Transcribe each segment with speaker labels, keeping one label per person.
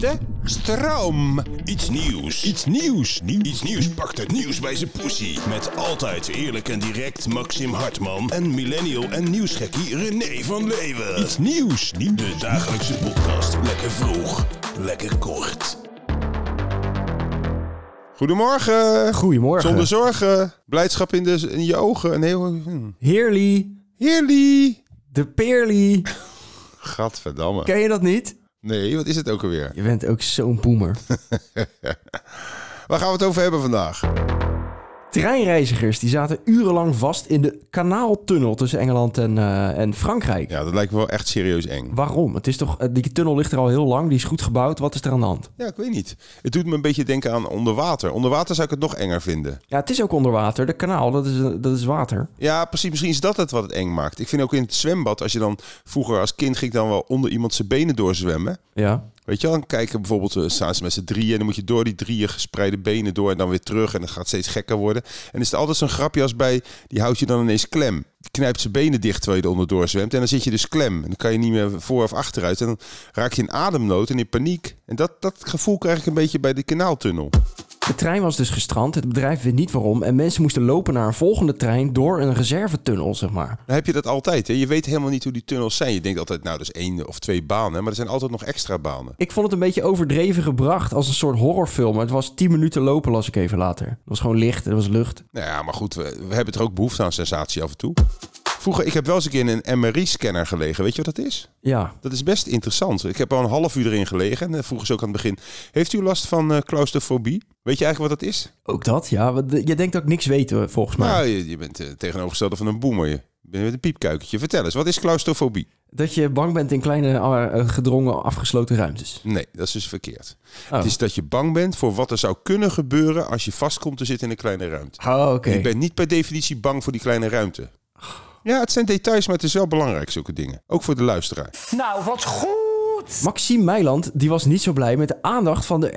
Speaker 1: De stroom.
Speaker 2: Iets nieuws.
Speaker 1: Iets nieuws. Nieuw.
Speaker 2: Iets nieuws pakt het nieuws bij zijn poesie. Met altijd eerlijk en direct Maxim Hartman en millennial en nieuwsgekkie René van Leeuwen.
Speaker 1: Iets nieuws. Nieuw.
Speaker 2: De dagelijkse podcast. Lekker vroeg, lekker kort.
Speaker 1: Goedemorgen.
Speaker 3: Goedemorgen.
Speaker 1: Zonder zorgen. Blijdschap in, de, in je ogen. Een heel... hm.
Speaker 3: Heerly,
Speaker 1: Heerly.
Speaker 3: de Peerly.
Speaker 1: Gadverdamme.
Speaker 3: Ken je dat niet?
Speaker 1: Nee, wat is het ook alweer?
Speaker 3: Je bent ook zo'n boemer.
Speaker 1: Waar gaan we het over hebben vandaag?
Speaker 3: Treinreizigers die zaten urenlang vast in de kanaaltunnel tussen Engeland en, eh, en Frankrijk.
Speaker 1: Ja, dat lijkt me wel echt serieus eng.
Speaker 3: Waarom? Het is toch, eh, die tunnel ligt er al heel lang, die is goed gebouwd. Wat is er aan de hand?
Speaker 1: Ja, ik weet niet. Het doet me een beetje denken aan onder water. Onder water zou ik het nog enger vinden.
Speaker 3: Ja, het is ook onder water. De kanaal, dat is, eh, dat is water.
Speaker 1: Ja, precies. Misschien is dat het wat het eng maakt. Ik vind ook in het zwembad, als je dan vroeger als kind ging ik dan wel onder iemand zijn benen doorzwemmen.
Speaker 3: Ja.
Speaker 1: Weet je wel, dan kijken bijvoorbeeld, eh, staan ze met z'n drieën... en dan moet je door die drieën gespreide benen door en dan weer terug... en dan gaat het steeds gekker worden. En is het altijd zo'n grapje als bij, die houdt je dan ineens klem. Die knijpt zijn benen dicht terwijl je eronder doorzwemt... en dan zit je dus klem. En dan kan je niet meer voor of achteruit. En dan raak je in ademnood en in paniek. En dat, dat gevoel krijg ik een beetje bij de kanaaltunnel.
Speaker 3: De trein was dus gestrand, het bedrijf weet niet waarom. En mensen moesten lopen naar een volgende trein door een reservetunnel, zeg maar.
Speaker 1: Dan heb je dat altijd, hè? Je weet helemaal niet hoe die tunnels zijn. Je denkt altijd, nou, dat is één of twee banen... maar er zijn altijd nog extra banen.
Speaker 3: Ik vond het een beetje overdreven gebracht als een soort horrorfilm. Het was 10 minuten lopen, las ik even later. Het was gewoon licht, het was lucht.
Speaker 1: Nou ja, maar goed, we, we hebben er ook behoefte aan sensatie af en toe. Vroeger, ik heb wel eens een keer in een MRI-scanner gelegen. Weet je wat dat is?
Speaker 3: Ja,
Speaker 1: Dat is best interessant. Ik heb al een half uur erin gelegen. En eh, vroegen ze ook aan het begin: Heeft u last van eh, claustrofobie? Weet je eigenlijk wat dat is?
Speaker 3: Ook dat, ja. want Je denkt ook niks weten, volgens mij.
Speaker 1: Nou, je, je bent eh, tegenovergestelde van een boemer. Je bent met een piepkuikentje. Vertel eens, wat is claustrofobie?
Speaker 3: Dat je bang bent in kleine, eh, gedrongen, afgesloten ruimtes.
Speaker 1: Nee, dat is dus verkeerd.
Speaker 3: Oh.
Speaker 1: Het is dat je bang bent voor wat er zou kunnen gebeuren als je vast komt te zitten in een kleine ruimte.
Speaker 3: Oh, oké.
Speaker 1: Je bent niet per definitie bang voor die kleine ruimte. Ja, het zijn details, maar het is wel belangrijk, zulke dingen. Ook voor de luisteraar.
Speaker 4: Nou, wat goed!
Speaker 3: Maxime Meiland die was niet zo blij met de aandacht van de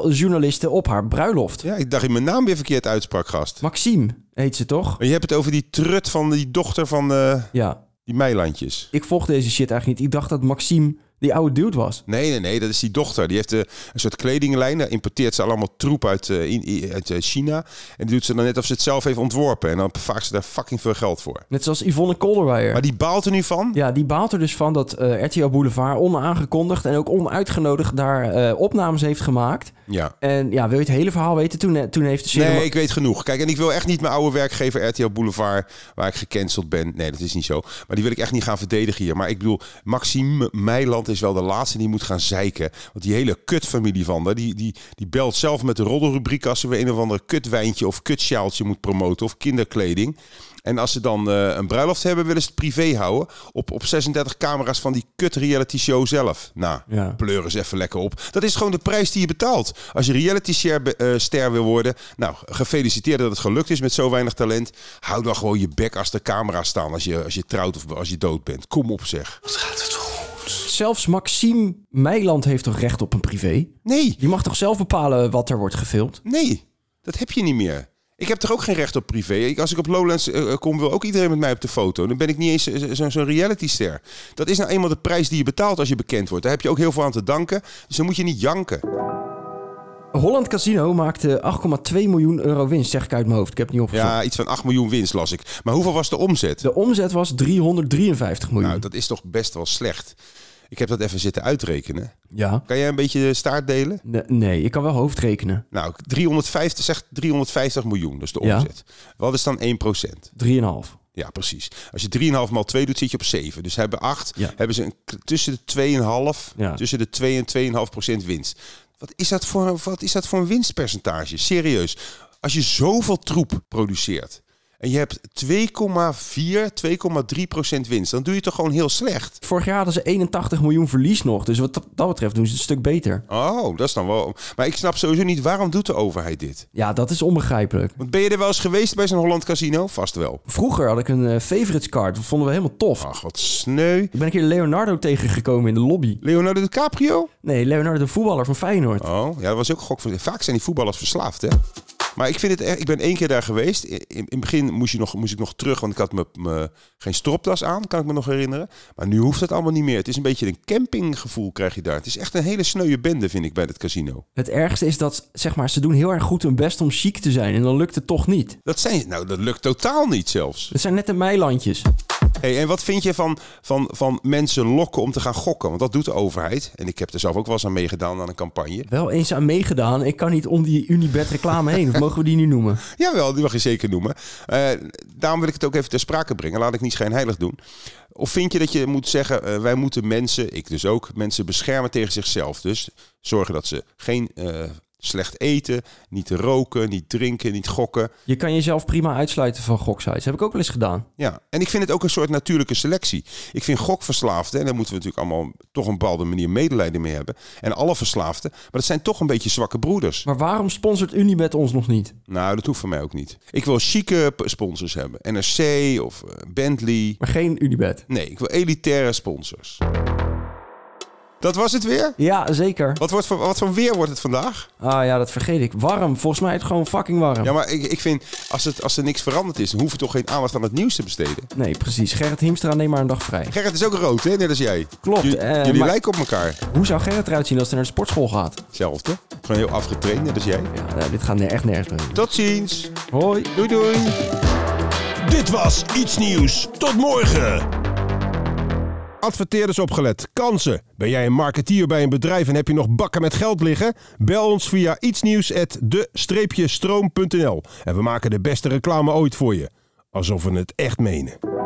Speaker 3: RTL-journalisten op haar bruiloft.
Speaker 1: Ja, ik dacht ik mijn naam weer verkeerd uitsprak, gast.
Speaker 3: Maxime heet ze toch?
Speaker 1: Maar je hebt het over die trut van die dochter van eh,
Speaker 3: Ja.
Speaker 1: die Meilandjes.
Speaker 3: Ik volg deze shit eigenlijk niet. Ik dacht dat Maxime die oude dude was.
Speaker 1: Nee, nee, nee, dat is die dochter. Die heeft eh, een soort kledinglijn. Daar importeert ze allemaal troep uit, eh, in- i- uit eh, China. En die doet ze dan net of ze het zelf heeft ontworpen. En dan vaak ze daar fucking veel geld voor.
Speaker 3: Net zoals Yvonne Kolderweijer.
Speaker 1: Maar die baalt er nu van.
Speaker 3: Ja, die baalt er dus van dat eh RTL Boulevard onaangekondigd en ook onuitgenodigd daar eh, opnames heeft gemaakt.
Speaker 1: Ja.
Speaker 3: En ja, wil je het hele verhaal weten? Toen, toen heeft de ceremo-
Speaker 1: Nee, ik weet genoeg. Kijk, en ik wil echt niet mijn oude werkgever RTL Boulevard, waar ik gecanceld ben. Nee, dat is niet zo. Maar die wil ik echt niet gaan verdedigen hier. Maar ik bedoel, Maxime Meiland is wel de laatste die moet gaan zeiken. Want die hele kutfamilie van haar, die, die, die belt zelf met de roddelrubriek als ze weer een of andere kutwijntje of kutsjaaltje moet promoten of kinderkleding. En als ze dan eh, een bruiloft hebben, willen ze het privé houden. Op, op 36 camera's van die kut reality show zelf. Nou,
Speaker 3: Ja.
Speaker 1: pleur eens even lekker op. Dat is gewoon de prijs die je betaalt. Als je reality share be- eh, ster wil worden. Nou, gefeliciteerd dat het gelukt is met zo weinig talent. Hou dan gewoon je bek als de camera's staan. Als je, als je trouwt of als je dood bent. Kom op zeg.
Speaker 3: Zelfs Maxime Meiland heeft toch recht op een privé?
Speaker 1: Nee,
Speaker 3: Die mag toch zelf bepalen wat er wordt gefilmd?
Speaker 1: nee. Dat heb je niet meer. Ik heb toch ook geen recht op privé. Ik, als ik op Lowlands eh, kom, wil ook iedereen met mij op de foto. Dan ben ik niet eens eh, zo- zo'n reality ster. Dat is nou eenmaal de prijs die je betaalt als je bekend wordt. Daar heb je ook heel veel aan te danken. Dus dan moet je niet janken.
Speaker 3: Holland Casino maakte 8,2 miljoen euro winst, zeg ik uit mijn hoofd. Ik heb het niet opgezocht.
Speaker 1: Ja, iets van 8 miljoen winst las ik. Maar hoeveel was de omzet?
Speaker 3: De omzet was 353 miljoen.
Speaker 1: Nou, dat is toch best wel slecht. Ik heb dat even zitten uitrekenen.
Speaker 3: Ja.
Speaker 1: Kan jij een beetje de staart delen?
Speaker 3: Ne- nee, ik kan wel hoofd rekenen.
Speaker 1: Nou, 350, zeg 350 miljoen, dat is de
Speaker 3: Ja.
Speaker 1: omzet. Wat is dan 1%?
Speaker 3: 3,5.
Speaker 1: Ja, precies. Als je 3,5 maal 2 doet, zit je op 7. Dus hebben 8,
Speaker 3: Ja.
Speaker 1: hebben ze een, k- tussen de 2,5,
Speaker 3: Ja.
Speaker 1: tussen de 2 en 2,5 procent winst. Wat is, dat voor, wat is dat voor een winstpercentage? Serieus. Als je zoveel troep produceert en je hebt 2,4, 2,3 procent winst, dan doe je het toch gewoon heel slecht?
Speaker 3: Vorig jaar hadden ze 81 miljoen verlies nog. Dus wat dat- dat betreft doen ze het een stuk beter.
Speaker 1: Oh, dat is dan wel... Maar ik snap sowieso niet, waarom doet de overheid dit?
Speaker 3: Ja, dat is onbegrijpelijk.
Speaker 1: Want ben je er wel eens geweest bij zo'n Holland Casino? Vast wel.
Speaker 3: Vroeger had ik een eh, favorites card. Dat vonden we helemaal tof.
Speaker 1: Ach, wat sneu.
Speaker 3: Ik ben een keer Leonardo tegengekomen in de lobby.
Speaker 1: Leonardo DiCaprio?
Speaker 3: Nee, Leonardo de voetballer van Feyenoord.
Speaker 1: Oh, ja, dat was ook een gok. Vaak zijn die voetballers verslaafd, hè? Maar ik vind het echt, ik ben één keer daar geweest. In, in het begin moest, je nog, moest ik nog terug, want ik had me, me geen stropdas aan, kan ik me nog herinneren. Maar nu hoeft dat allemaal niet meer. Het is een beetje een campinggevoel krijg je daar. Het is echt een hele sneuwe bende, vind ik, bij het casino.
Speaker 3: Het ergste is dat zeg maar, ze doen heel erg goed hun best om chic te zijn. En dan lukt het toch niet.
Speaker 1: Dat, zijn, nou, dat lukt totaal niet zelfs.
Speaker 3: Het zijn net de meilandjes.
Speaker 1: Hey, en wat vind je van, van, van mensen lokken om te gaan gokken? Want dat doet de overheid. En ik heb er zelf ook wel eens aan meegedaan aan een campagne.
Speaker 3: Wel eens aan meegedaan. Ik kan niet om die Unibet reclame heen. Of mogen we die nu noemen?
Speaker 1: Jawel, die mag je zeker noemen. Eh, daarom wil ik het ook even ter sprake brengen. Laat ik niet schijnheilig doen. Of vind je dat je moet zeggen, eh, wij moeten mensen, ik dus ook, mensen beschermen tegen zichzelf. Dus zorgen dat ze geen eh, slecht eten, niet roken, niet drinken, niet gokken.
Speaker 3: Je kan jezelf prima uitsluiten van goksites. Heb ik ook wel eens gedaan.
Speaker 1: Ja, en ik vind het ook een soort natuurlijke selectie. Ik vind gokverslaafden, en daar moeten we natuurlijk allemaal toch een bepaalde manier medelijden mee hebben. En alle verslaafden, maar dat zijn toch een beetje zwakke broeders.
Speaker 3: Maar waarom sponsort Unibet ons nog niet?
Speaker 1: Nou, dat hoeft van mij ook niet. Ik wil chique p- sponsors hebben. NRC of eh, Bentley.
Speaker 3: Maar geen Unibet.
Speaker 1: Nee, ik wil elitaire sponsors. Dat was het weer?
Speaker 3: Ja, zeker.
Speaker 1: Wat, wordt voor, wat voor weer wordt het vandaag?
Speaker 3: Ah ja, dat vergeet ik. Warm. Volgens mij is het gewoon fucking warm.
Speaker 1: Ja, maar ik, ik vind, als, het, als er niks veranderd is, dan hoeven we toch geen aandacht aan het nieuws te besteden.
Speaker 3: Nee, precies. Gerrit Hiemstra, neem maar een dag vrij.
Speaker 1: Gerrit is ook rood, hè? Net als jij.
Speaker 3: Klopt,
Speaker 1: J-
Speaker 3: eh,
Speaker 1: jullie
Speaker 3: maar-
Speaker 1: lijken op elkaar.
Speaker 3: Hoe zou Gerrit eruit zien als hij naar de sportschool gaat?
Speaker 1: Hetzelfde. Gewoon heel afgetraind, net als jij.
Speaker 3: Ja, nou, dit gaat ne- echt nergens meer.
Speaker 1: Tot ziens.
Speaker 3: Hoi.
Speaker 1: Doei doei.
Speaker 2: Dit was Iets Nieuws. Tot morgen.
Speaker 5: Adverteerders opgelet. Kansen. Ben jij een marketeer bij een bedrijf en heb je nog bakken met geld liggen? Bel ons via ietsnieuws@de-stroom.nl en we maken de beste reclame ooit voor je. Alsof we het echt menen.